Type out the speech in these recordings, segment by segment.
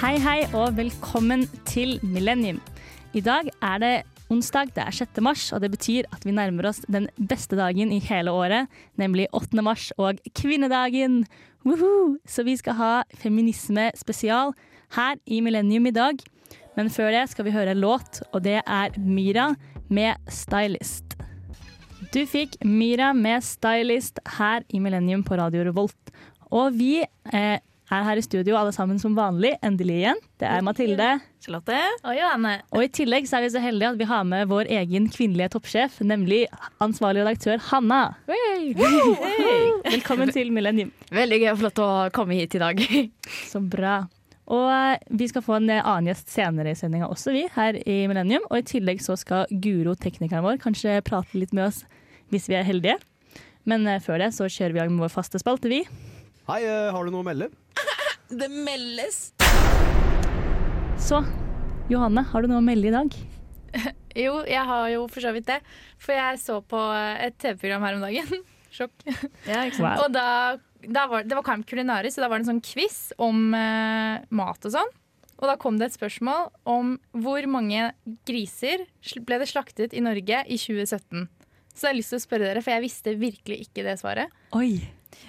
Hei, hei, og velkommen til Millennium. I dag er det onsdag, det er 6. mars, og det betyr at vi nærmer oss den beste dagen i hele året, nemlig 8. mars og kvinnedagen. Woohoo! Så vi skal ha feminisme spesial her i Millennium i dag. Men før det skal vi høre en låt, og det er Myra med 'Stylist'. Du fikk Myra med 'Stylist' her i Millennium på Radio Revolt. Og vi eh, er her i studio alle sammen som vanlig, endelig igjen. Det er Mathilde. Charlotte. Og Johanne. Og i tillegg så er vi så heldige at vi har med vår egen kvinnelige toppsjef, nemlig ansvarlig redaktør Hanna. Velkommen til Millennium. Veldig gøy å få lov til å komme hit i dag. Så bra. Og eh, vi skal få en eh, annen gjest senere i sendinga også, vi, her i Millennium. Og i tillegg så skal Guro, teknikeren vår, kanskje prate litt med oss hvis vi er heldige. Men eh, før det så kjører vi i gang med vår faste spalte, vi. Hei, eh, har du noe å melde? Det meldes. Så Johanne, har du noe å melde i dag? Jo, jeg har jo for så vidt det. For jeg så på et TV-program her om dagen. Sjokk. Ja, ikke sant? Wow. Og da, da var, det var Camp Culinaris, så da var det en sånn quiz om eh, mat og sånn. Og da kom det et spørsmål om hvor mange griser sl- ble det slaktet i Norge i 2017. Så jeg har lyst til å spørre dere, for jeg visste virkelig ikke det svaret. Oi.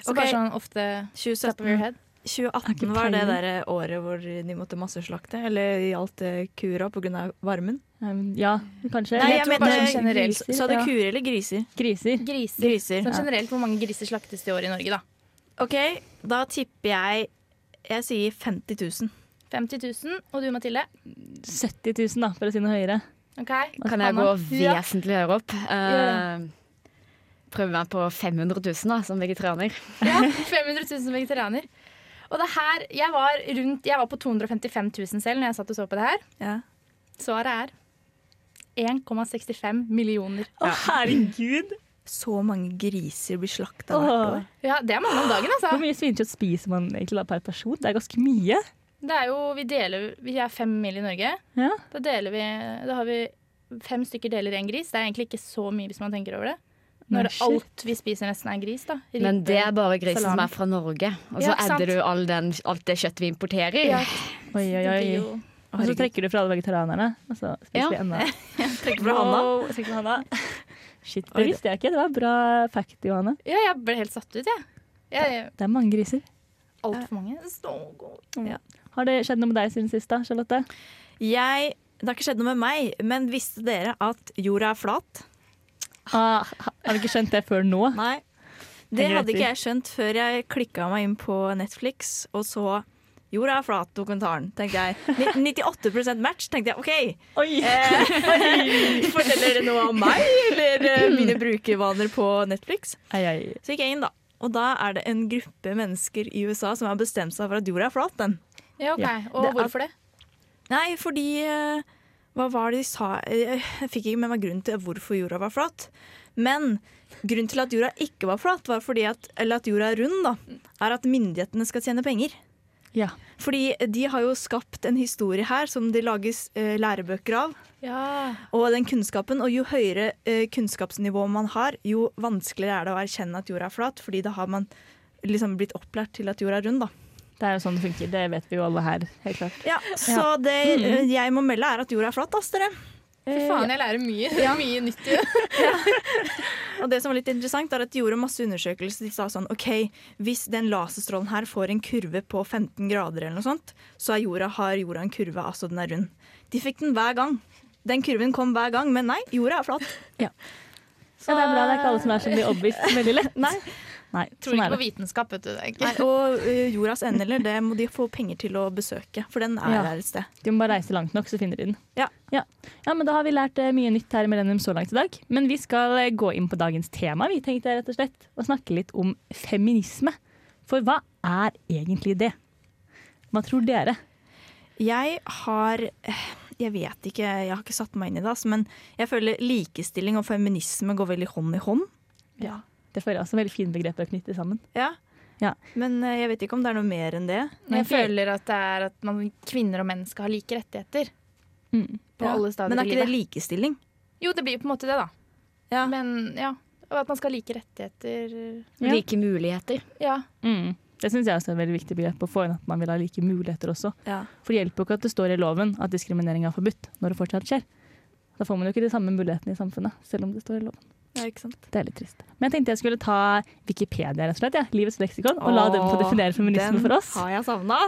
Så Ok. bare sånn ofte top of your 2017. head. 2018 var det der eh, året hvor de måtte masseslakte, eller eh, gjaldt det kura pga. varmen? Um, Ja, kanskje. Nei, Eller jeg tror mener bare sånn generelt. Sa du Ja. kuer eller griser? Griser. Griser. Griser. Sånn generelt hvor mange griser slaktes i år i Norge, da. OK, da tipper jeg Jeg sier 50 000. 50 000. Og du, Mathilde? 70 000, da, for å si noe høyere. Ok. Kan jeg gå Hanna? Ja. vesentlig høyere opp? Eh, prøve meg på 500 000 da, som vegetarianer. Ja, 500 000 som vegetarianer. Og det her, jeg var, rundt, jeg var på 255 000 selv når jeg satt og så på det her. Ja. Svaret er 1,65 millioner. Å, herregud! Så mange griser blir slakta hvert Åh. år. Ja, Det er mange om dagen, Hvor altså. mye svinekjøtt spiser man egentlig da per person? Det er ganske mye. Det er jo, vi, deler, vi er fem mil i Norge. Ja. Da, deler vi, da har vi fem stykker deler én gris. Det er egentlig ikke så mye hvis man tenker over det. Når Nei, shit. alt vi spiser, nesten er gris. da. Ribbe. Men det er bare grisen som salami. er fra Norge. Og Ja, så ikke sant? edder du all den, alt det kjøttet vi importerer. Ja, Oi, oi, det blir oi. jo- Og så trekker du fra alle vegetarianerne, og så spiser Ja. vi enda. Tenker på Hanna. Wow, tenk på Hanna. Shit, Oi, det visste jeg ikke. Det var bra fact, Johanne. Ja, jeg ble helt satt ut, jeg. jeg Det er mange griser. Altfor mange. Så god. Har det skjedd noe med deg siden sist, da, Charlotte? Jeg Det har ikke skjedd noe med meg, men visste dere at jorda er flat? Ah, har du ikke skjønt det før nå? Nei. Det Henger hadde etter. ikke jeg skjønt før jeg klikka meg inn på Netflix og så Jorda er flat-dokumentaren, tenkte jeg. Ni- 98 match, tenkte jeg. OK! Oi! Eh, forteller det noe om meg eller eh, mine brukervaner på Netflix? Ei, ei. Så gikk jeg inn, da. Og da er det en gruppe mennesker i USA som har bestemt seg for at jorda er flat. den. Ja, ok. Ja. Og Det er- hvorfor det? Nei, fordi eh, Hva var det de sa Eh, Jeg fikk ikke med meg grunnen til hvorfor jorda var flat. Men grunnen til at jorda ikke var flat, var fordi at, eller at jorda er rund, da, er at myndighetene skal tjene penger. Ja. Fordi de har jo skapt en historie her som det lages eh, lærebøker av. Ja. Og den kunnskapen, og jo høyere eh, kunnskapsnivå man har, jo vanskeligere er det å erkjenne at jorda er flat, fordi da har man liksom blitt opplært til at jorda er rund, da. Det er jo sånn det funker. Det vet vi jo alle her. helt klart. Ja, så det eh, jeg må melde, er at jorda er flat, ass, dere. Fy Eh, faen, jeg lærer mye, mye nytt i det. Og det som var litt interessant er at De gjorde masse undersøkelser. De sa sånn OK, hvis den laserstrålen her får en kurve på 15 grader, eller noe sånt, så er jorda, har jorda en kurve, altså den er rund. De fikk den hver gang. Den kurven kom hver gang, men nei, jorda er flat. Ja, det er bra. Det er ikke alle som er som blir overbevist veldig lett. Nei. Nei, Tror sånn ikke er på det. vitenskap, vet du. Det er Nei, ikke. og ø, jordas endeler, det må de få penger til å besøke, for den er Ja. der et sted. Du må bare reise langt nok, så finner du den. Ja. Ja. ja, men Da har vi lært eh, mye nytt her i Millennium så langt i dag. Men vi skal eh, gå inn på dagens tema, vi tenkte rett og slett, og snakke litt om feminisme. For hva er egentlig det? Hva tror dere? Jeg har eh, Jeg vet ikke, jeg har ikke satt meg inn i det, ass, men jeg føler likestilling og feminisme går veldig hånd i hånd. Ja. Det føler jeg også er veldig fine begreper å knytte sammen. Ja. Ja. Men eh, jeg vet ikke om det er noe mer enn det. Jeg føler at det er at man, kvinner og menn skal ha like rettigheter. Mm. På Ja. alle stadier i Men er ikke det livet. likestilling? Jo, det blir jo på en måte det, da. Ja. Men ja. Og at man skal ha like rettigheter. Ja. Like muligheter. Ja. Mm. Det syns jeg også er et veldig viktig begrep å få inn, at man vil ha like muligheter også. Ja. For det hjelper jo ikke at det står i loven at diskriminering er forbudt, når det fortsatt skjer. Da får man jo ikke de samme mulighetene i samfunnet, selv om det står i loven. ja, ikke sant? Det er litt trist. Men jeg tenkte jeg skulle ta Wikipedia, rett og slett, ja. livets leksikon, og la dem få definere feminisme for oss. har jeg savna.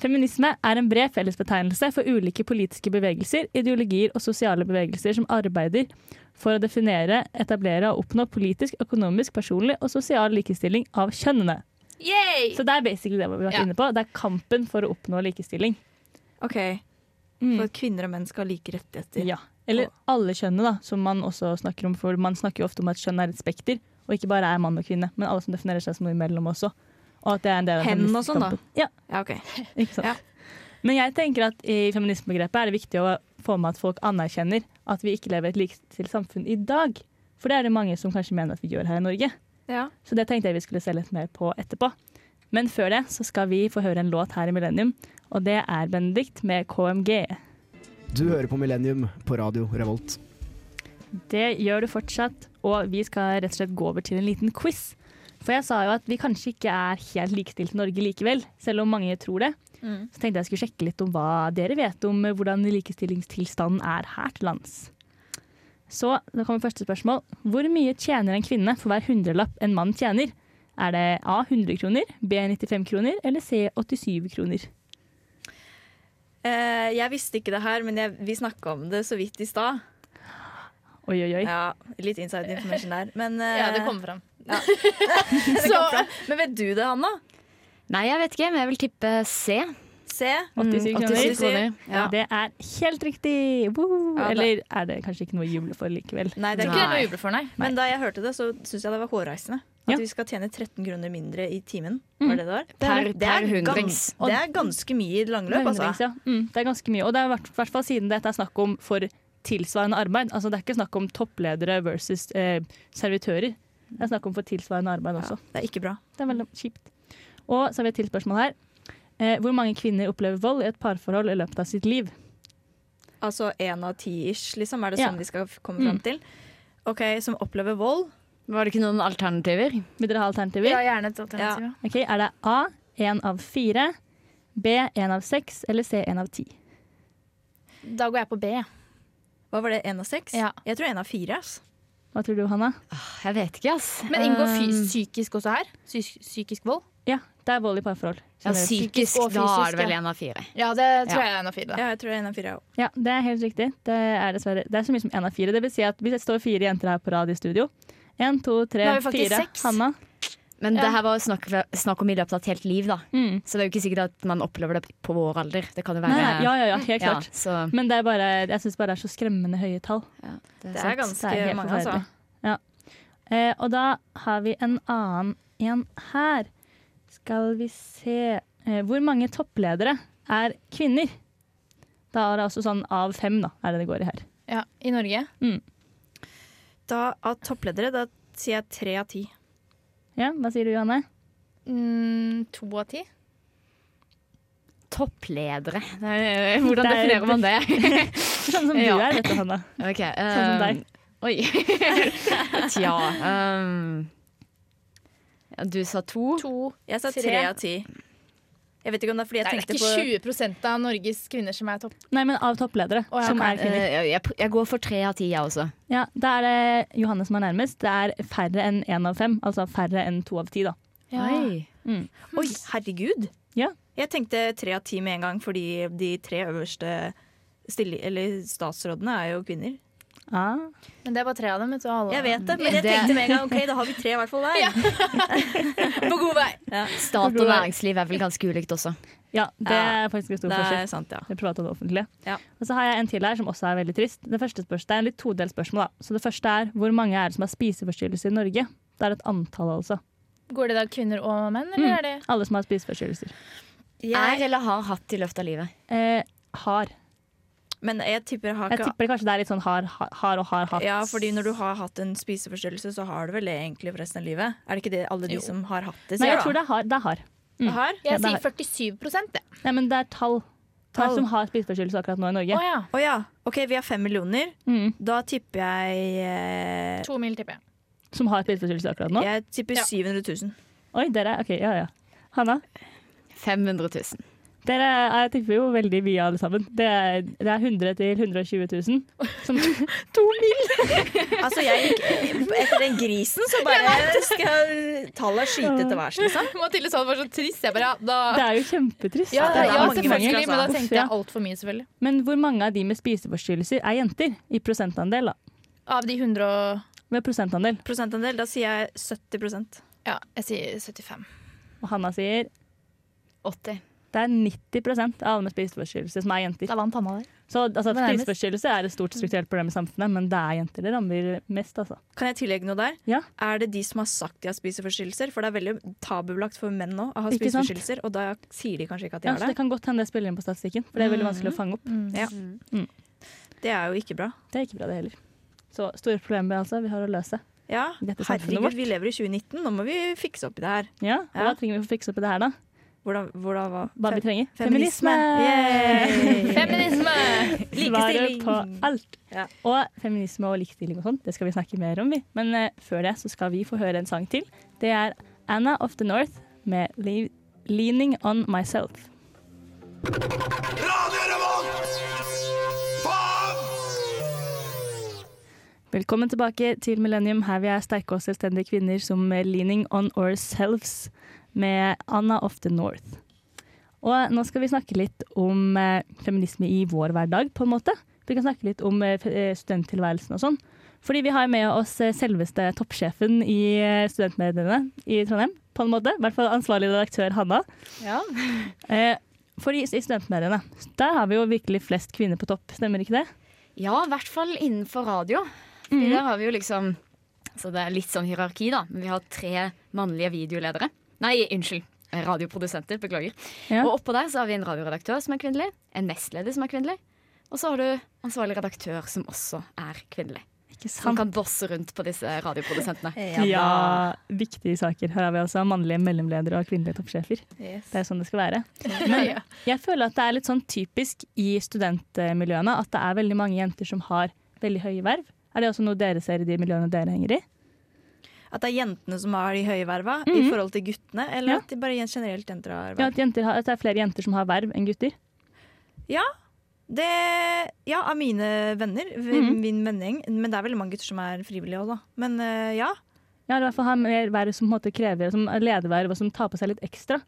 Feminisme er en bred fellesbetegnelse for ulike politiske bevegelser, ideologier og sosiale bevegelser som arbeider for å definere, etablere og oppnå politisk, økonomisk, personlig og sosial likestilling av kjønnene. Yay! Så det er basically det vi har vært Ja. inne på. Det er kampen for å oppnå likestilling. Mm. OK. For at kvinner og menn skal ha like rettigheter. Ja. Eller alle kjønnene, da, som man også snakker om. For man snakker jo ofte om at kjønn er et spekter, og ikke bare er mann og kvinne, men alle som definerer seg som noe imellom også. Og at det er en del av Hen og feministisk sånn, da. kampen. Ja, Ja, ok. Ikke sant? Ja. Men jeg tenker at i feminismebegrepet er det viktig å få med at folk anerkjenner at vi ikke lever i et likestilt samfunn i dag. For det er det mange som kanskje mener at vi gjør her i Norge. Ja. Så det tenkte jeg vi skulle se litt mer på etterpå. Men før det så skal vi få høre en låt her i Millennium, og det er Benedikt med KMG. Du hører på Millennium på radio Revolt. Det gjør du fortsatt, og vi skal rett og slett gå over til en liten quiz. For jeg sa jo at vi kanskje ikke er helt likestilt i Norge likevel, selv om mange tror det. Mm. Så tenkte jeg skulle sjekke litt om hva dere vet om eh, hvordan likestillingstilstanden er her til lands. Så da kommer første spørsmål. Hvor mye tjener en kvinne for hver hundrelapp en mann tjener? Er det A 100 kroner, B 95 kroner eller C 87 kroner? Eh, jeg visste ikke det her, men jeg, vi snakka om det så vidt i stad. Oi, oi, oi. Ja, litt inside information der. Men, eh, Ja, det kom fram. det kom Så- fra. Men vet du det, Hanna? Nei, jeg vet ikke, men jeg vil tippe C. Se. 87 87 Mm, kroner. kroner. Ja. Det er helt riktig! Woo! Ja, det- Eller er det kanskje ikke noe å juble for likevel? Nei, det Det er er ikke ikke det noe å juble for, nei. Men da jeg hørte det, så syns jeg det var hårreisende. At Ja. vi skal tjene 13 kroner mindre i timen. Mm. Var det det var? Per- Det er per hundrings. gans- Det er ganske mye i det lange Det er, løp, altså. hundrings, ja. mm, det er ganske mye. Og det er i hvert- hvert fall siden dette er snakk om for tilsvarende arbeid. Altså, det er ikke snakk om toppledere versus eh, servitører. Det er snakk om for tilsvarende arbeid også. Det er ikke bra. Det er veldig kjipt. Og så har vi et til spørsmål her. Eh, hvor mange kvinner opplever vold i et parforhold i løpet av sitt liv? Altså én av ti ish, liksom. Er det Ja. sånn vi skal f- komme fram Mm. til? OK, som opplever vold. Var det ikke noen alternativer? Vil dere ha alternativer? Ja, gjerne et alternativ. Ja. Ok, Er det A én av fire, B én av seks eller C én av ti? Da går jeg på B. Hva var det, én av seks? Ja. Jeg tror én av fire. ass. Hva tror du, Hanna? Åh, Ah, Jeg vet ikke, ass. Men inngår fy Eh, psykisk også her? Psy- psykisk vold? Ja, det er vold i parforhold. ja, generelt. psykisk, og da fysisk, er det vel ja. en av fire. Ja, det tror tror jeg er en av fire. Ja, jeg tror det er én av fire. jeg også. Ja, det er helt riktig. Det er dessverre Det er så mye som én av fire. Det vil si at hvis det står fire jenter her på rad i studio Én, to, tre, Da er vi faktisk fire. seks. Hanna. Men Ja. det her var jo snakk, snakk om i løpet av et helt liv, da. Mm. Så det er jo ikke sikkert at man opplever det på vår alder. Det kan jo Nei, være nei, ja, ja, ja, helt Ja, klart. så, Men det er bare, jeg syns bare det er så skremmende høye tall. ja, det er Det sant. er ganske Det er helt mange, altså. forferdelig. Eh, og da har vi en annen en her. Skal vi se eh, Hvor mange toppledere er kvinner? Da er det altså sånn av fem, da, er det det går i her. Ja, I Norge. Da, av toppledere, da sier jeg tre av ti. Ja, Hva sier du, Johanne? Mm, to av ti. Toppledere. Det er- eh, Hvordan Det er- definerer man det? Sånn som Ja. du er, vet du, Hanna. Ok, Sånn som eh, deg. Oi. Tja. ehm, ja, du sa to. To. Jeg sa Tre. tre av ti. Jeg vet ikke om det er fordi jeg Nei, det er tenkte ikke 20 av Norges kvinner som er topp. Nei, men av toppledere Å, ja, som ok. er kvinner. Eh, jeg, jeg går for tre av ti, jeg også. Ja, Da er det Johanne som er nærmest. Det er færre enn én av fem. Altså færre enn to av ti, da. Oi. på Oi, herregud! Ja. Jeg tenkte tre av ti med en gang, fordi de tre øverste stilli, eller statsrådene er jo kvinner. Ah. Men det er bare tre av dem. Vet du, og alle. Jeg vet det, men jeg Det- tenkte med en gang ok, da har vi tre i hvert fall der. På god vei. Stat og næringsliv er vel ganske ulikt også. Ja, det Ja, er faktisk en stor Det forskjell. er sant, ja. Det private og det offentlige. Ja. Og så har jeg en til her som også er veldig trist. Det første spørsmålet det er en litt todelt spørsmål. da. Så det første er hvor mange er det som har spiseforstyrrelser i Norge? Det er et antall, altså. Går det da kvinner og menn, Mm. eller er det Alle som har spiseforstyrrelser. Er eller har hatt i løpet av livet. Eh, har. Men jeg tipper jeg har Jeg ikke tipper det kanskje det er litt sånn har, ha- har og har hatt. ja, fordi når du har hatt en spiseforstyrrelse, så har du vel det egentlig for resten av livet? Er det ikke det alle de Jo. som har hatt det, Nei, sier? Mm. jeg tror det er har. Det er har. da? Har? Ja, Jeg det er- sier 47 det. Nei, men det er tall. Tall Tall. som har spiseforstyrrelse akkurat nå i Å Norge. ja. Å ja. OK, vi har fem millioner. Mm. Da tipper jeg eh, To mil, tipper jeg. Som har spiseforstyrrelse akkurat nå. Jeg tipper Ja. 700 000. Oi, dere OK, ja ja. Hanna? 500 000. Dere er, jeg tipper jo veldig mye alle sammen. Det er, det er 100 til 120 000. Som, Altså, jeg gikk etter den grisen, så bare skal tallene skyte til værs, liksom. Mathilde sa det var så trist. Jeg bare, ja, da det er jo kjempetrist. ja, det er ja, mange selvfølgelig, mennesker, men da altså. tenkte jeg altfor mye, selvfølgelig. Men hvor mange av de med spiseforstyrrelser er jenter? I prosentandel, da. Av de 100 og Med prosentandel. Prosentandel, da sier jeg 70 Ja, jeg sier 75. Og Hanna sier 80. det er 90 av alle med spiseforstyrrelser som er jenter. Da vant Hanna der. Så altså, Det var nærmest. spiseforstyrrelser er et stort strukturelt problem i samfunnet, men det er jenter det rammer mest, altså. Kan jeg tillegge noe der? Ja. Er det de som har sagt de har spiseforstyrrelser? For det er veldig tabubelagt for menn nå å ha Ikke sant? spiseforstyrrelser, og da sier de kanskje ikke at de Ja, har så det det. kan godt hende det spiller inn på statistikken, for det Mm. er veldig vanskelig å fange opp. Det er jo ikke bra. Det er ikke bra, det heller. Så store problemer altså, vi har å løse. Ja, Dette samfunnet herregud, vårt. vi lever i 2019, nå må vi fikse opp i det her. Ja, og Ja. Hva trenger vi for å fikse opp i det her, da? Hvordan, hvordan hva? Hva vi trenger? Feminisme! Yay! Feminisme! Svaret Likestilling! på alt. Ja. Og feminisme og likestilling og sånt, det skal vi snakke mer om, vi. Men eh, før det så skal vi få høre en sang til. Det er Anna of the North med Le Leaning On Myself. Radio Revolt! Faen! Velkommen tilbake til Millennium, her vi er sterke og selvstendige kvinner som eh, Leaning On Ourselves med Anna of the North. Og nå skal vi snakke litt om eh, feminisme i vår hverdag, på en måte. Vi kan snakke litt om eh, fe- eh, studenttilværelsen og sånn. Fordi vi har med oss eh, selveste toppsjefen i eh, studentmediene i Trondheim, på en måte. I hvert fall ansvarlig redaktør Hanna. Ja. Eh, fordi i studentmediene, der har vi jo virkelig flest kvinner på topp, stemmer ikke det? Ja, i hvert fall innenfor radio. Fordi Der har vi jo liksom Så det er litt sånn hierarki, da. Men vi har tre mannlige videoledere. Nei, unnskyld. Radioprodusenter. Beklager. Ja. Og oppå der så har vi en radioredaktør som er kvinnelig. En nestleder som er kvinnelig. Og så har du ansvarlig redaktør som også er kvinnelig. Ikke Som kan bosse rundt på disse radioprodusentene. Eh. Ja, viktige saker. Her har vi altså mannlige mellomledere og kvinnelige toppsjefer. Yes. Det er sånn det skal være. Men jeg føler at det er litt sånn typisk i studentmiljøene at det er veldig mange jenter som har veldig høye verv. Er det også noe dere ser i de miljøene dere henger i? At det er jentene som har de høye verva i Mhm. forhold til guttene, Ja. eller at de bare generelt jenter har Ja, verv? at, jenter har, at det er flere jenter som har verv enn gutter. Det, ja, av mine venner, v- Mhm. min vennegjeng. Men det er veldig mange gutter som er frivillige òg, da. Men eh, ja. Ja, eller i hvert fall har mer verv som på en måte krever som lederverv og som tar på seg litt ekstra.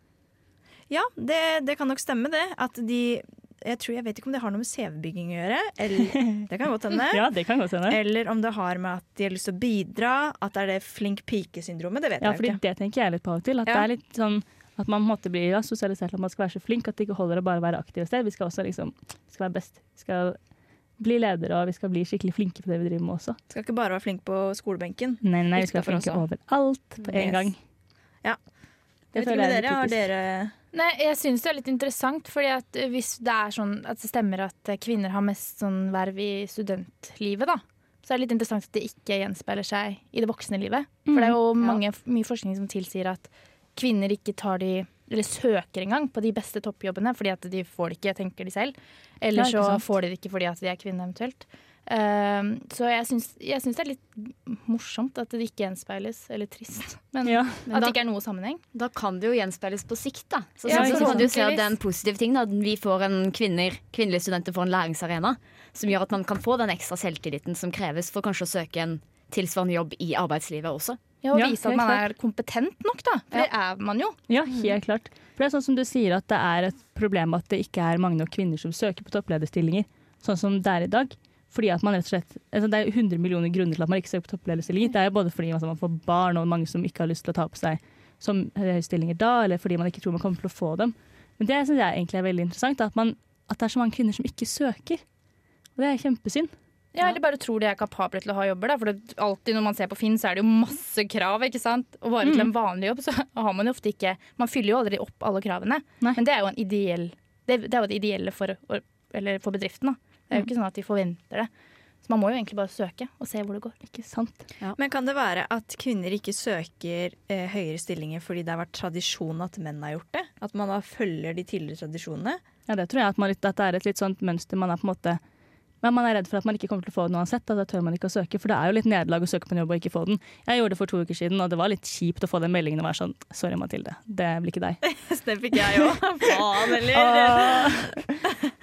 Ja, det, det kan nok stemme, det. At de jeg, tror, jeg vet ikke om det har noe med CV-bygging å gjøre. Eller, det kan godt hende. Ja, det kan godt hende. Eller om det har med at de har lyst til å bidra. At det er det flink pike-syndromet. Det vet Ja, jeg fordi jo ikke. det tenker jeg litt på av og til. At Ja. det er litt sånn at man på en måte blir ja, sosialisert til at man skal være så flink at det ikke holder å bare være aktiv et sted. Vi skal også liksom vi skal være best. Vi skal bli ledere, og vi skal bli skikkelig flinke på det vi driver med også. Skal ikke bare være flink på skolebenken. Nei, nei, vi skal Utenfor være flinke overalt på en Yes. gang. Ja. Det Jeg vet ikke føler med jeg er dere, litt har typisk. dere Nei, jeg syns det er litt interessant, fordi at hvis det er sånn at det stemmer at kvinner har mest sånn verv i studentlivet, da, så er det litt interessant at det ikke gjenspeiler seg i det voksne livet. For det er jo Mm. mange, mye forskning som tilsier at kvinner ikke tar de eller søker engang på de beste toppjobbene fordi at de får det ikke, tenker de selv. Ja, Eller ikke så sant. får de det ikke fordi at de er kvinner, eventuelt. Ehm, så jeg syns, jeg syns det er litt morsomt at det ikke gjenspeiles, eller trist. Men Ja. Men at da- det ikke er noe sammenheng. Da kan det jo gjenspeiles på sikt, da. Så, Ja, sånn ikke så kan sant. du se at det er en positiv ting da, at vi får en kvinner, kvinnelige studenter får en læringsarena som gjør at man kan få den ekstra selvtilliten som kreves for kanskje å søke en tilsvarende jobb i arbeidslivet også. Ja, og Ja, vise at helt man klart. er kompetent nok, da. For det er man jo. Ja, helt klart. For det er sånn som du sier at det er et problem at det ikke er mange nok kvinner som søker på topplederstillinger, sånn som det er i dag. Fordi at man rett og slett, altså Det er 100 millioner grunner til at man ikke søker på topplederstillinger. Det er jo både fordi altså, man får barn og mange som ikke har lyst til å ta på seg som høye stillinger da, eller fordi man ikke tror man kommer til å få dem. Men det syns jeg egentlig er veldig interessant, at, man, at det er så mange kvinner som ikke søker. Og det er kjempesynd. Ja, eller bare tror de er kapable til å ha jobber. Da. For det, alltid når man ser på Finn, så er det jo masse krav. ikke sant? Og bare til en vanlig jobb, så har man jo ofte ikke Man fyller jo aldri opp alle kravene. Nei. Men det er jo en ideell Det, det er jo det ideelle for, or- eller for bedriften. da. Det er jo ikke sånn at de forventer det. Så man må jo egentlig bare søke og se hvor det går. Ikke sant? Men kan det være at kvinner ikke søker eh, høyere stillinger fordi det har vært tradisjon at menn har gjort det? At man da følger de tidligere tradisjonene? Ja, det tror jeg at, man, litt- at det er et litt sånt mønster man er på en måte Men man er redd for at man ikke kommer til å få den uansett, og da tør man ikke å søke. For det er jo litt nederlag å søke på en jobb og ikke få den. Jeg gjorde det for to uker siden, og det var litt kjipt å få den meldingen og være sånn Sorry, Mathilde, det blir ikke deg. Det fikk jeg òg. Faen heller.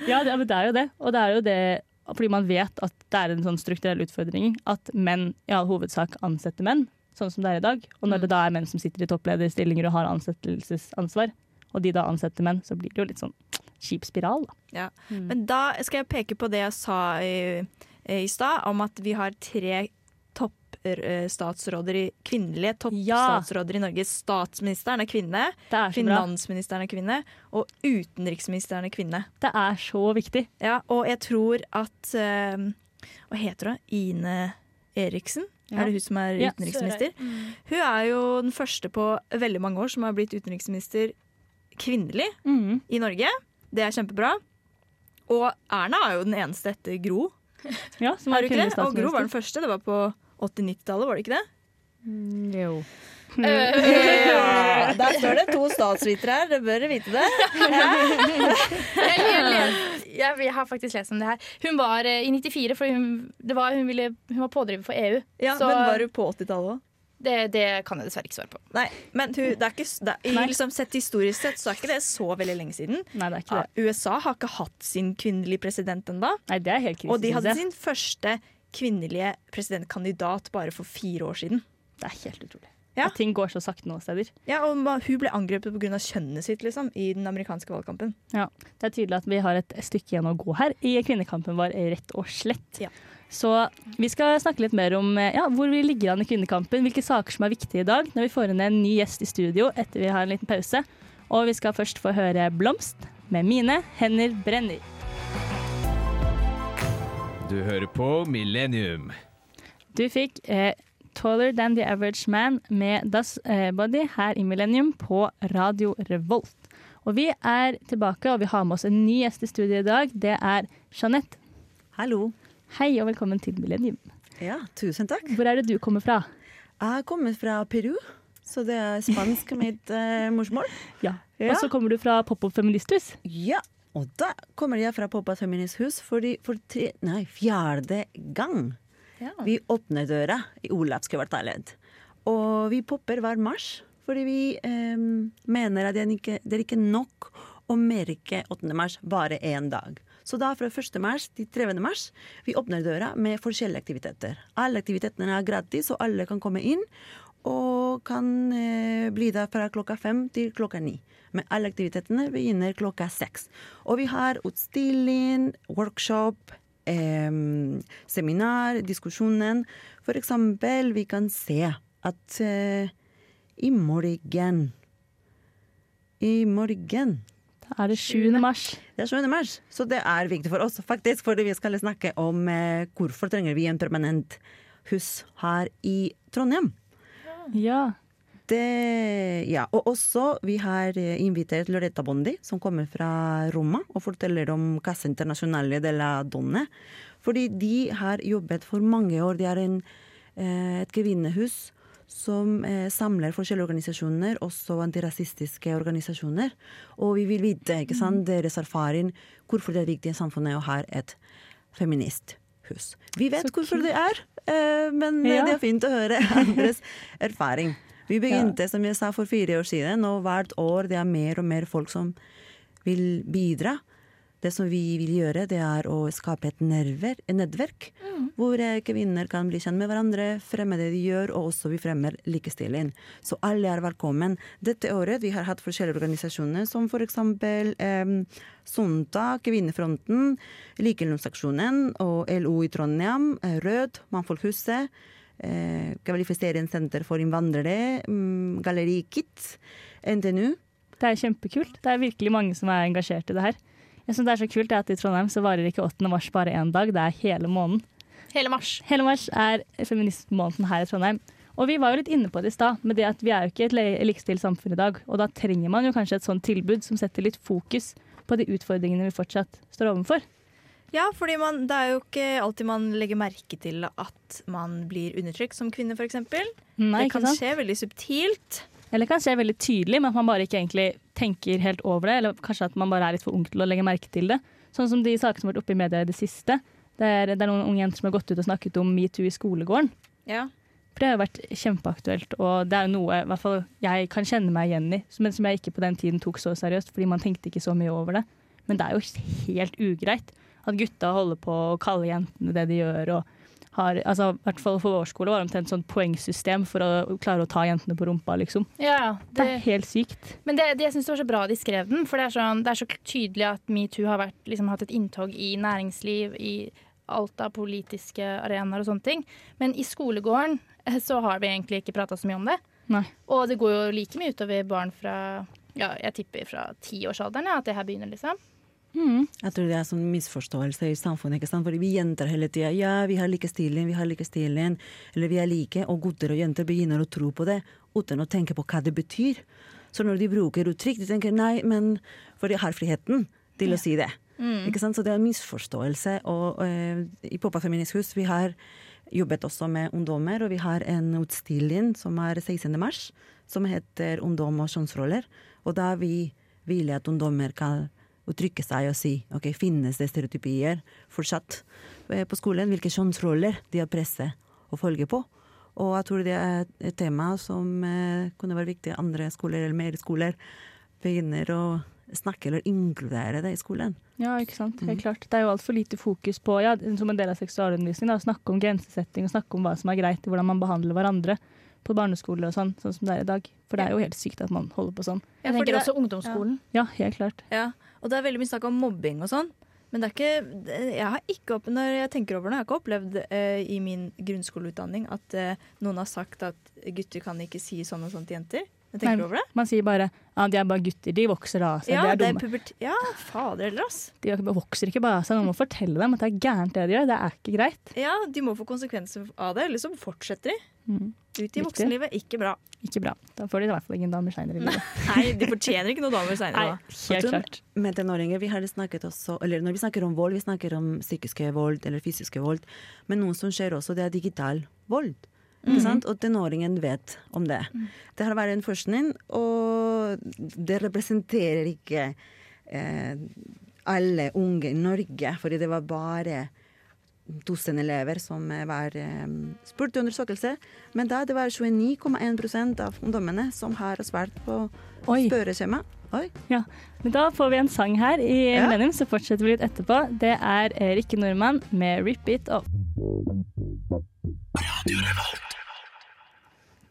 ja, det, men det er jo det. Og det er jo det fordi man vet at det er en sånn strukturell utfordring at menn i all hovedsak ansetter menn, sånn som det er i dag. Og når det da er menn som sitter i topplederstillinger og har ansettelsesansvar, og de da ansetter menn, så blir det jo litt sånn kjip spiral, da. Ja. Men da skal jeg peke på det jeg sa i, eh, i stad, om at vi har tre toppstatsråder i kvinnelige toppstatsråder i Norge. Statsministeren er kvinne, Det er så bra. finansministeren er kvinne, og utenriksministeren er kvinne. Det er så viktig. Ja, og jeg tror at eh, Hva heter hun? Ine Eriksen? Ja. Er det hun som er Ja, utenriksminister? Hun er jo den første på veldig mange år som har blitt utenriksminister kvinnelig Mm. i Norge. Det er kjempebra. Og Erna er jo den eneste etter Gro. Ja, som Er du ikke kvinnelig det? Og Gro var den statsminister. første. Det var på 80-90-tallet, var det ikke det? Mm, Jo. Mm. Ja, der står det to statsvitere her, dere bør vite det. Jeg, jeg, jeg, jeg har faktisk lest om det her. Hun var eh, i 94, for hun, det var, hun, ville, hun var pådriver for EU. Ja, Så- Men var du på 80-tallet òg? Det, det kan jeg dessverre ikke svare på. Nei, men hun, det er ikke, s- det er, Nei. liksom Sett historisk sett så er ikke det så veldig lenge siden. Nei, det er ikke Ja, det. USA har ikke hatt sin kvinnelige president ennå. Nei, det er helt krise. Og de hadde synes jeg. sin første kvinnelige presidentkandidat bare for fire år siden. Det er helt utrolig. Ja. At ting går så sakte noen steder. Ja, og ma- Hun ble angrepet pga. kjønnet sitt liksom, i den amerikanske valgkampen. Det er tydelig at vi har et stykke igjen å gå her i kvinnekampen vår, rett og slett. Ja. Så vi skal snakke litt mer om eh, ja, hvor vi ligger an i kvinnekampen, hvilke saker som er viktige i dag, når vi får inn en ny gjest i studio etter vi har en liten pause. Og vi skal først få høre Blomst med Mine hender brenner. Du hører på Millennium. Du fikk eh, Taller Than The Average Man med Das eh, Body her i Millennium på Radio Revolt. Og vi er tilbake, og vi har med oss en ny gjest i studio i dag. Det er Jeanette. Hallo. Hei og velkommen til Millennium. Ja, tusen takk. Hvor er det du kommer fra? Jeg kommer fra Peru, så det er spansk mitt eh, morsmål. Ja. Ja. Og så kommer du fra Pop Up Feministhus. Ja, og da kommer jeg fra Poppa Feministhus fordi for tre, nei, fjerde gang vi åpner døra i Olavskvartalet. Og vi popper hver mars fordi vi eh, mener at det er, ikke, det er ikke nok å merke 8. mars bare én dag. Så da fra 1. mars til 3. mars vi åpner døra med forskjellige aktiviteter. Alle aktivitetene er gratis, og alle kan komme inn. Og kan eh, bli der fra klokka fem til klokka ni. Men alle aktivitetene begynner klokka seks. Og vi har utstilling, workshop, eh, seminar, diskusjonen. For eksempel, vi kan se at eh, i morgen I morgen Da er det 7. mars. det er 7. mars, så det er viktig for oss, faktisk, fordi vi skal snakke om eh, hvorfor trenger vi en permanent hus her i Trondheim. Ja. Det, ja. Og også, vi har eh, invitert Loretta Bondi, som kommer fra Roma, og forteller om Casa Internasjonale de la Donne. Fordi de har jobbet for mange år. De er en, eh, et kvinnehus som eh, samler forskjellige organisasjoner, også antirasistiske organisasjoner. Og vi vil vite ikke Mm. sant, deres erfaring, hvorfor det er viktig i samfunnet å ha et feministhus. Vi vet Så hvorfor det er, eh, men eh, Ja. det er fint å høre andres erfaring. Vi begynte som jeg sa for fire år siden, og hvert år det er mer og mer folk som vil bidra. Det som vi vil gjøre, det er å skape et nerver, et nettverk hvor eh, kvinner kan bli kjent med hverandre, fremme det de gjør, og også vi fremmer likestilling. Så alle er velkommen. Dette året vi har hatt forskjellige organisasjoner, som f.eks. Eh, Sonta, Kvinnefronten, Likelønnsaksjonen og LO i Trondheim, eh, Rød, Mannfolkhuset eh, kvalifiseringssenter for innvandrere, mm, Galleri Kit, NTNU. Det er kjempekult. Det er virkelig mange som er engasjert i det her. Jeg synes det er så kult at I Trondheim så varer ikke 8. mars bare én dag, det er hele måneden. Hele mars. Hele mars er feministmåneden her i Trondheim. Og vi var jo litt inne på det i stad, med det at vi er jo ikke et le- likestilt samfunn i dag. Og da trenger man jo kanskje et sånt tilbud som setter litt fokus på de utfordringene vi fortsatt står overfor. Ja, fordi man, det er jo ikke alltid man legger merke til at man blir undertrykt som kvinne, f.eks. Nei, ikke Det kan sant? skje veldig subtilt. Eller kan skje veldig tydelig, men at man bare ikke egentlig tenker helt over det. Eller kanskje at man bare er litt for ung til å legge merke til det. Sånn som de sakene som har vært oppe i media i det siste. Det er, det er noen unge jenter som har gått ut og snakket om metoo i skolegården. Ja. For det har jo vært kjempeaktuelt, og det er jo noe i hvert fall, jeg kan kjenne meg igjen i, men som jeg ikke på den tiden tok så seriøst, fordi man tenkte ikke så mye over det. Men det er jo helt ugreit at gutta holder på å kalle jentene det de gjør. og har, altså, i hvert fall For vår skole var det omtrent sånn poengsystem for å klare å ta jentene på rumpa. liksom. Ja, Det er helt sykt. Men det, det, jeg syns det var så bra de skrev den, for det er, sånn, det er så tydelig at metoo har vært, liksom, hatt et inntog i næringsliv, i alt av politiske arenaer og sånne ting. Men i skolegården eh, så har vi egentlig ikke prata så mye om det. Nei. Og det går jo like mye utover barn fra ja, jeg tipper fra tiårsalderen ja, at det her begynner, liksom. Jeg tror det er sånn misforståelse i samfunnet. ikke sant? Fordi vi jenter hele tida ja, vi har likestilling, vi har likestilling, eller vi er like. Og gutter og jenter begynner å tro på det uten å tenke på hva det betyr. Så når de bruker uttrykk, de tenker nei, men For de har friheten til å si det. Ikke sant? Så det er en misforståelse. Og eh, i Poppa Feminist Hus vi har jobbet også med ungdommer, og vi har en utstilling som er 16. mars, som heter 'Ungdom og kjønnsroller'. Og da vi vil at ungdommer kan uttrykke seg og si ok, finnes det stereotypier fortsatt eh, på skolen, hvilke kjønnsroller de har presset å følge på. Og jeg tror det er et tema som eh, kunne være viktig andre skoler eller mer skoler begynner å snakke eller inkludere det i skolen. Ja, ikke sant. Mm. Helt klart. Det er jo altfor lite fokus på, ja, som en del av seksualundervisningen, da, å snakke om grensesetting og snakke om hva som er greit, og hvordan man behandler hverandre på barneskole og sånn, sånn som det er i dag. For det er jo helt sykt at man holder på sånn. Jeg fordi tenker det- også ungdomsskolen. Ja, helt klart. Ja, og det er veldig mye snakk om mobbing og sånn. Men det er ikke, det- jeg har ikke opp, når jeg tenker over det, jeg har ikke opplevd eh, i min grunnskoleutdanning at eh, noen har sagt at gutter kan ikke si sånn og sånn til jenter. Jeg tenker Nei. over det. Man sier bare ja, de er bare gutter, de vokser av seg, Ja, de er det er dumme. pubert... Ja, fader heller, ass. De vokser ikke bare av seg, man må fortelle dem at det er gærent det de gjør, det er ikke greit. Ja, de må få konsekvenser av det, eller så fortsetter de. Mm. Ut i Riktig. voksenlivet, ikke bra. Ikke bra. Da får de i hvert fall ingen damer seinere i livet. Nei, de fortjener ikke noen damer Nei, seinere. helt Vet du, klart. Med tenåringer, vi har snakket også, eller Når vi snakker om vold, vi snakker om psykiske vold eller fysiske vold. Men noe som skjer også, det er digital vold. Ikke sant? Og tenåringen vet om det. Det har vært en forskning, og det representerer ikke eh, alle unge i Norge, fordi det var bare tusen elever som eh, var eh, spurt i undersøkelse. Men da det var 29,1 av ungdommene som har svart på Oi. spørreskjema. Oi. Ja, men Da får vi en sang her i Ja. Millennium, så fortsetter vi litt etterpå. Det er Rikke Nordmann med 'Rip It Up'.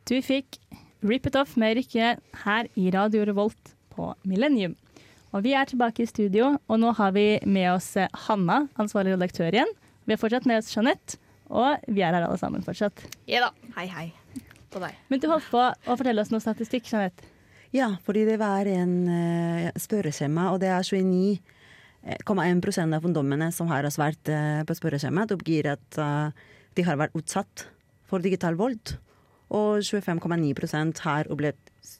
Du fikk 'Rip It Off' med Rikke her i Radio Revolt på Millennium. Og vi er tilbake i studio, og nå har vi med oss eh, Hanna, ansvarlig redaktør igjen. Vi har fortsatt med oss Jeanette, og vi er her alle sammen fortsatt. Hei, hei. På deg. Men du holdt på å fortelle oss noe statistikk, Jeanette. Ja, fordi det var en eh, spørreskjema, og det er 29,1 av ungdommene som har svart eh, på spørreskjemaet, oppgir at eh, de har vært utsatt for digital vold. Og 25,9 har opplevd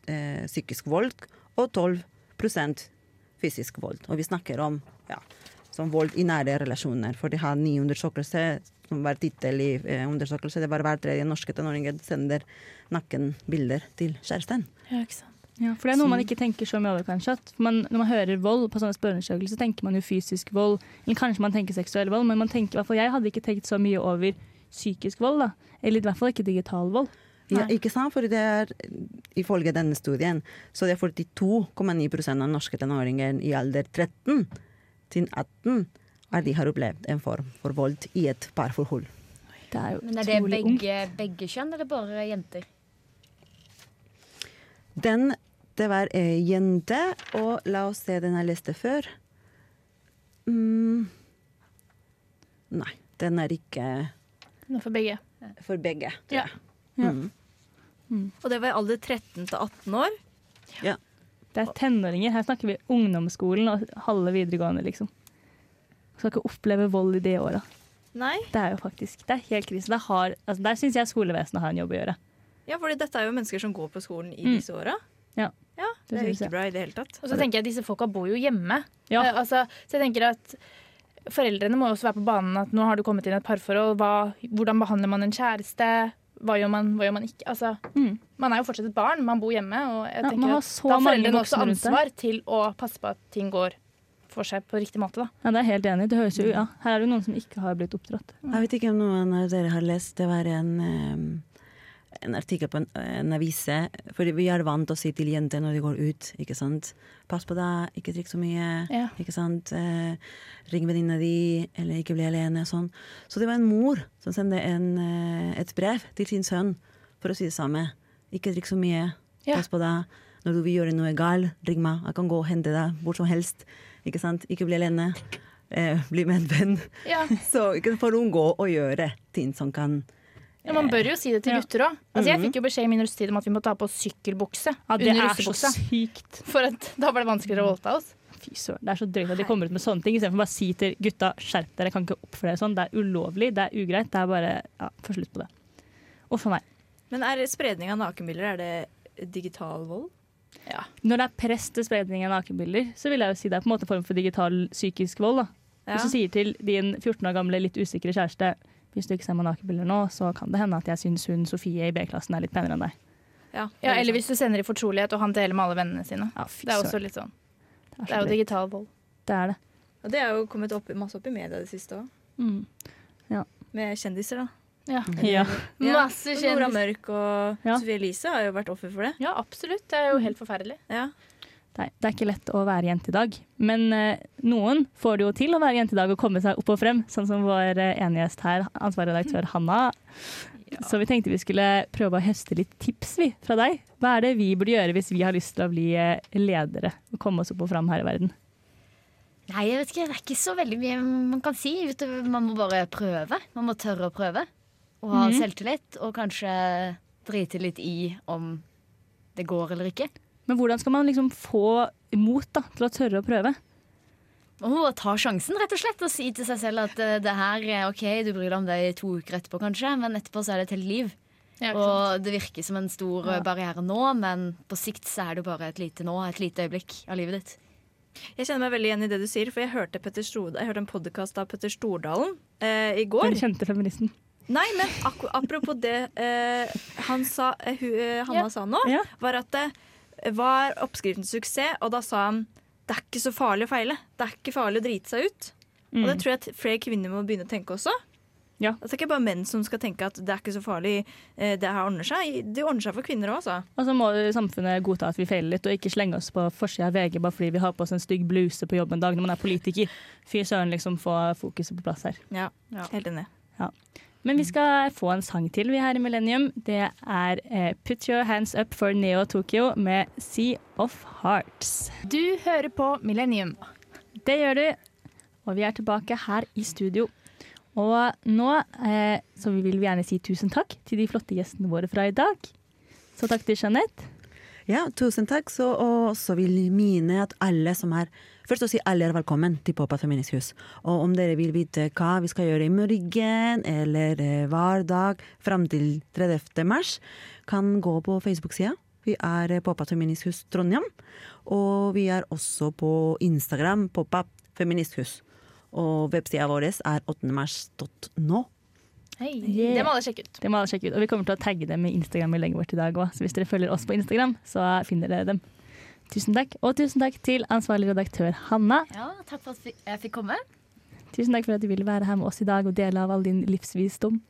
eh, psykisk vold, og 12 fysisk vold. Og vi snakker om ja, som vold i nære relasjoner, for de har ny undersøkelse som var tittel i eh, undersøkelse. Det var hver tredje norske tenåringer sender nakenbilder til kjæresten. Ja, ikke sant. Ja, for det er noe man ikke tenker så mye over, kanskje. At man, når man hører vold på sånne spørreundersøkelser, så tenker man jo fysisk vold. Eller kanskje man tenker seksuell vold, men man tenker, i hvert fall jeg hadde ikke tenkt så mye over psykisk vold. da. Eller i hvert fall ikke digital vold. Ja, ikke sant? For det er, ifølge denne studien, så det er 42,9 av norske tenåringer i alder 13 til 18 er de har opplevd en form for vold i et parforhold. Det er jo Men er det utrolig ungt. begge, begge kjønn, eller bare jenter? Den, det var ei jente, og la oss se den jeg leste før. Mm. Nei, den er ikke Nå for begge. for begge. Ja. Og det var i alder 13 til 18 år. Det er tenåringer. Her snakker vi ungdomsskolen og halve videregående, liksom. Skal ikke oppleve vold i de åra. Nei. Det er jo faktisk det er helt krise. Det har, altså, der syns jeg skolevesenet har en jobb å gjøre. Ja, fordi dette er jo mennesker som går på skolen i Mm. disse åra. Ja. ja, Det det er jo synes jeg. ikke bra i det hele tatt. Og så tenker jeg at disse folka bor jo hjemme. Ja. Eh, altså, så jeg tenker at foreldrene må også være på banen at nå har du kommet inn i et parforhold. Hva, hvordan behandler man en kjæreste? Hva gjør man, hva gjør man ikke? Altså, Mm. Man er jo fortsatt et barn, man bor hjemme. Og jeg Ja, man tenker har at så da har mange foreldrene også voksne rundt seg. ansvar til å passe på at ting går for seg på riktig måte. Da. Ja, det er jeg helt enig. i. Det høres jo, ja. Her er det jo noen som ikke har blitt oppdratt. Jeg vet ikke om noen av dere har lest Det var en, eh, en artikkel på en, en avise. Fordi vi er vant til å si til jenter når de går ut, ikke sant. Pass på deg, ikke drikk så mye. Ja. Ikke sant. Eh, ring venninna di, eller ikke bli alene. Sånn. Så det var en mor som sendte en, eh, et brev til sin sønn for å si det samme. Ikke drikk så mye. Ja. Pass på deg. Når du vil gjøre noe galt, ring meg. Jeg kan gå og hente deg hvor som helst. Ikke sant. Ikke bli alene. Eh, bli med en venn. Ja. Så ikke for å unngå å gjøre ting som kan Ja, man bør jo si det til Ja. gutter òg. Altså, jeg fikk jo beskjed i min russetid om at vi måtte ha på oss sykkelbukse under russebuksa. sykt. For at, da var det vanskeligere å voldta oss. Fy søren. Det er så drøyt at de kommer ut med sånne ting, istedenfor bare å si til gutta skjerp dere, kan ikke oppføre dere sånn. Det er ulovlig, det er ugreit. Det er bare ja, få slutt på det. Uff a meg. Men er spredning av nakenbilder er det digital vold? Når det er press til spredning av nakenbilder, så vil jeg jo si det er på en måte en form for digital psykisk vold. da. Hvis du sier til din 14 år gamle, litt usikre kjæreste hvis du ikke ser meg nakenbilder nå, så kan det hende at jeg syns hun Sofie i B-klassen er litt penere enn deg. Ja, liksom- Ja, eller hvis du sender i fortrolighet, og han deler med alle vennene sine. Ja, fy Det er også søren. litt sånn. Det er Det er så jo drøyt. digital vold. Det er det. Og det er jo kommet opp, masse opp i media det siste òg. Mm. Med kjendiser, da. Mm. Ja. Ja. Ja, Masse og Nora kjendiser. Mørk og Ja. Sophie Elise har jo vært offer for det. Ja, absolutt. Det er jo helt forferdelig. Ja. Nei, det er ikke lett å være jente i dag. Men eh, noen får det jo til å være jente i dag og komme seg opp og frem, sånn som vår eh, ene gjest her, ansvarlig redaktør Hanna. Så vi tenkte vi skulle prøve å høste litt tips vi, fra deg. Hva er det vi burde gjøre hvis vi har lyst til å bli eh, ledere og komme oss opp og fram her i verden? Nei, jeg vet ikke, det er ikke så veldig mye man kan si. utover- Man må bare prøve. Man må tørre å prøve. Og ha Mhm. selvtillit. Og kanskje drite litt i om det går eller ikke. Men hvordan skal man liksom få mot da, til å tørre å prøve? Man må bare ta sjansen rett og slett og si til seg selv at eh, det her er ok, du bryr deg om det i to uker etterpå kanskje, men etterpå så er det et helt liv. Ja, ikke sant? Og det virker som en stor eh, barriere nå, men på sikt så er det jo bare et lite nå, et lite øyeblikk av livet ditt. Jeg kjenner meg veldig igjen i det du sier, for jeg hørte, Petter Stord- jeg hørte en podkast av Petter Stordalen eh, i går. Den kjente feministen. Nei, men akku- apropos det eh, han sa, eh, hu, eh, Ja. Hanna sa nå, Ja. var at det var oppskriften til suksess, og da sa han det er ikke så farlig å feile. Det er ikke farlig å drite seg ut. Og det tror jeg at flere kvinner må begynne å tenke også. Mm. Ja. At det er ikke bare menn som skal tenke at det er ikke så farlig, eh, det her ordner seg. Det ordner seg for kvinner òg, altså. Og så må samfunnet godta at vi feiler litt, og ikke slenge oss på forsida av VG bare fordi vi har på oss en stygg bluse på jobb en dag når man er politiker. Fy søren, liksom få fokuset på plass her. Ja, Helt enig. Men vi skal få en sang til, vi her i Millennium. Det er eh, Put Your Hands Up for Neo Tokyo med Sea of Hearts. Du hører på Millennium. Det gjør du. Og vi er tilbake her i studio. Og nå eh, så vi vil vi gjerne si tusen takk til de flotte gjestene våre fra i dag. Så takk til Jeanette. Ja, tusen takk. Så, og så vil jeg minne at alle som er Først å si alle er velkommen til Pop at Feministisk hus. Og om dere vil vite hva vi skal gjøre i morgen eller eh, hver dag fram til 30. mars, kan gå på Facebook-sida. Vi er eh, Pop at Feministisk hus Trondheim. Og vi er også på Instagram, Pop at Feministhus. Og websida vår er 8mars.no. Hei. Yeah. Det må alle sjekke ut. Det må alle sjekke ut. Og vi kommer til å tagge dem i Instagram-innlegget vårt i dag òg, så hvis dere følger oss på Instagram, så finner dere dem. Tusen takk. Og tusen takk til ansvarlig redaktør Hanna. Ja, takk for at jeg fikk komme. Tusen takk for at du ville være her med oss i dag og dele av all din livsvisdom.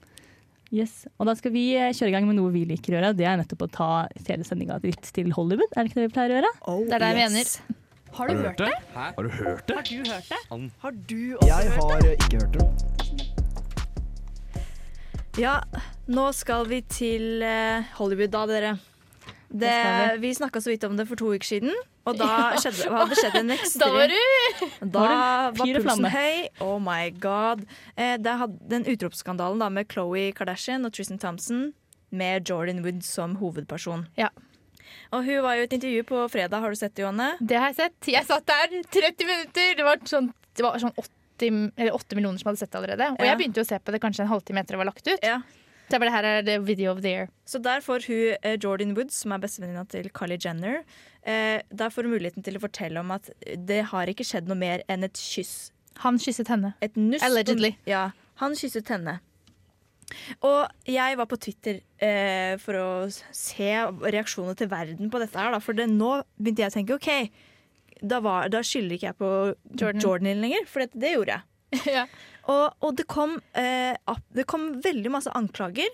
Yes. Og da skal vi eh, kjøre i gang med noe vi liker å gjøre. Det er nettopp å ta hele sendinga litt til Hollywood. Er det ikke det vi pleier å gjøre? Det er det jeg mener. Har du hørt det? Har du hørt det? Jeg har eh, ikke hørt det. Ja, nå skal vi til eh, Hollywood da, dere. Det, skal vi snakka så vidt om det for to uker siden, og da skjedde, hadde det skjedd en ekstrem Da var du Da Var det var, fyr og pulsen flamme? høy. Oh my god. Eh, det hadde den utropsskandalen da med Khloé Kardashian og Tristan Thompson med Jordan Wood som hovedperson. Ja. Og hun var jo i et intervju på fredag, har du sett det, Johanne? Det har jeg sett. Jeg satt der 30 minutter. Det var sånn, det var sånn 80, eller 8 millioner som hadde sett det allerede. Og Ja. jeg begynte jo å se på det kanskje en halvtime etter det var lagt ut. Ja. Så jeg bare, her er det video of the year. Så der får hun, eh, Jordan Wood, som er bestevenninna til Kylie Jenner, eh, der får hun muligheten til å fortelle om at det har ikke skjedd noe mer enn et kyss. Han kysset henne. Et nuss. Allegedly. Ja, han kysset henne. Og jeg var på Twitter eh, for å se reaksjonene til verden på dette her, da, for det, nå begynte jeg å tenke OK. da, var, da skylder ikke jeg på Jordan. Jordan, lenger, for det, det gjorde jeg. ja. Og, og det, kom, eh, ap- det kom veldig masse anklager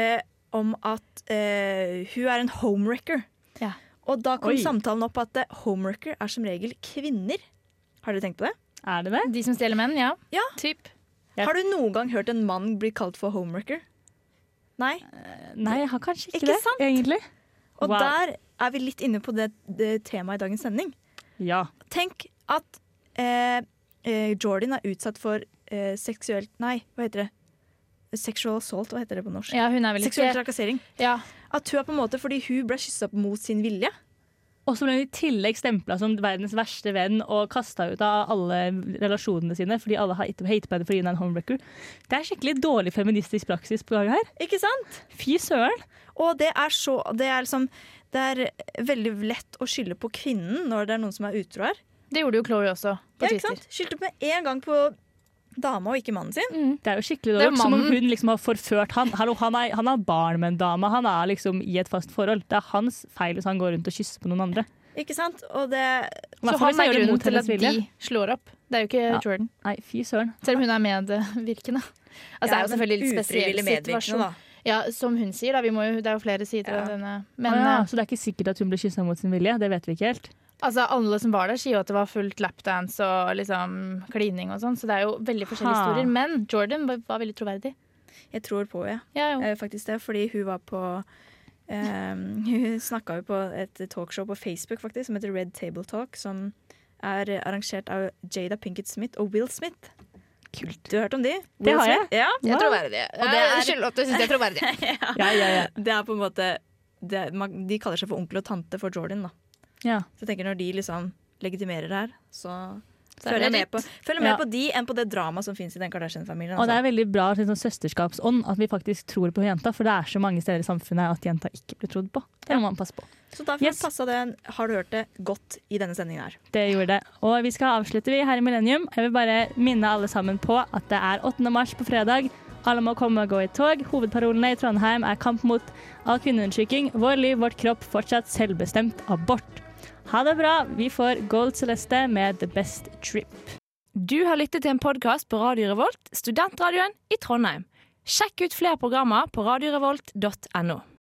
eh, om at eh, hun er en homewrecker. Ja. Og da kom Oi. samtalen opp at eh, homewrecker er som regel kvinner. Har dere tenkt på det? Er det det? De som stjeler menn, ja. Ja. Typ. Jeg- Har du noen gang hørt en mann bli kalt for homewrecker? Nei. Nei, jeg har kanskje ikke, Ikke det, sant? egentlig. Og Wow. der er vi litt inne på det, det temaet i dagens sending. Ja. Tenk at eh, eh, Jordan er utsatt for eh, seksuelt Nei, hva heter det? Sexual assault, hva heter det på norsk? Ja, hun er vel Seksuell ikke trakassering. ja. At hun er på en måte fordi hun ble kyssa mot sin vilje. Og så ble hun i tillegg stempla som verdens verste venn og kasta ut av alle relasjonene sine fordi alle har hater på henne fordi hun er en homewrecker. Det er skikkelig dårlig feministisk praksis på gang her. Ikke sant? Fy søren! Og det er så Det er liksom det er veldig lett å skylde på kvinnen når det er noen som er utro her. Det gjorde jo Chloé også, på Ja, ikke Twitter. sant? Skyldte med en gang på dama og ikke mannen sin. Det er jo skikkelig Det er dårlig. Som om mannen. hun liksom har forført han. Hallo, han, er, han har barn med en dame, han er liksom i et fast forhold. Det er hans feil hvis han går rundt og kysser på noen andre. Ikke sant? Og det Så Hvertfall hvis han han er gjør det grunnen mot til hennes at de vilje. slår opp. Det er jo ikke Ja. Jordan. Nei, fy søren. Selv om hun er medvirkende. Altså, det er jo selvfølgelig litt spesiell Ufrivillig medvirkende, situasjon. da. Ja, som hun sier, da. Vi må jo, det er jo flere sider av denne. Men Å Ah, ja, eh, så det er ikke sikkert at hun ble kyssa mot sin vilje? Det vet vi ikke helt. altså, alle som var der, sier jo at det var fullt lapdance og liksom klining og sånn, så det er jo veldig forskjellige Ha. historier. Men Jordan var, var veldig troverdig. Jeg tror på henne, Ja, jo. ja. Eh, faktisk det. Fordi hun var på eh, Hun snakka jo på et talkshow på Facebook faktisk, som heter Red Table Talk, som er arrangert av Jada Pinkett Smith og Will Smith. Kult. Du har hørt om de? Det Will har jeg. Smith? Ja, Jeg tror det er Og det er skyld at du syns jeg er troverdig. Ja, ja, ja. Det er på en måte det, man, De kaller seg for onkel og tante for Jordan, da. ja. Så jeg tenker når de liksom legitimerer det her, så er følger det jeg med, litt- på, følger jeg med Ja. på de enn på det dramaet som fins i den Kardashian-familien. Og det er Altså. veldig bra sånn, sånn søsterskapsånd at vi faktisk tror på jenta, for det er så mange steder i samfunnet at jenta ikke blir trodd på. Det må man passe på. Så derfor Yes. passa det, har du hørt det, godt i denne sendingen her. Det gjorde det. Og vi skal avslutte vi her i Millennium. Jeg vil bare minne alle sammen på at det er 8. mars på fredag. Alle må komme og gå i tog. Hovedparolene i Trondheim er kamp mot all kvinneundertrykking, vår liv, vårt kropp, fortsatt selvbestemt abort. Ha det bra. Vi får Gold Celeste med The Best Trip. Du har lyttet til en podkast på Radio Revolt, studentradioen i Trondheim. Sjekk ut flere programmer på radiorevolt.no.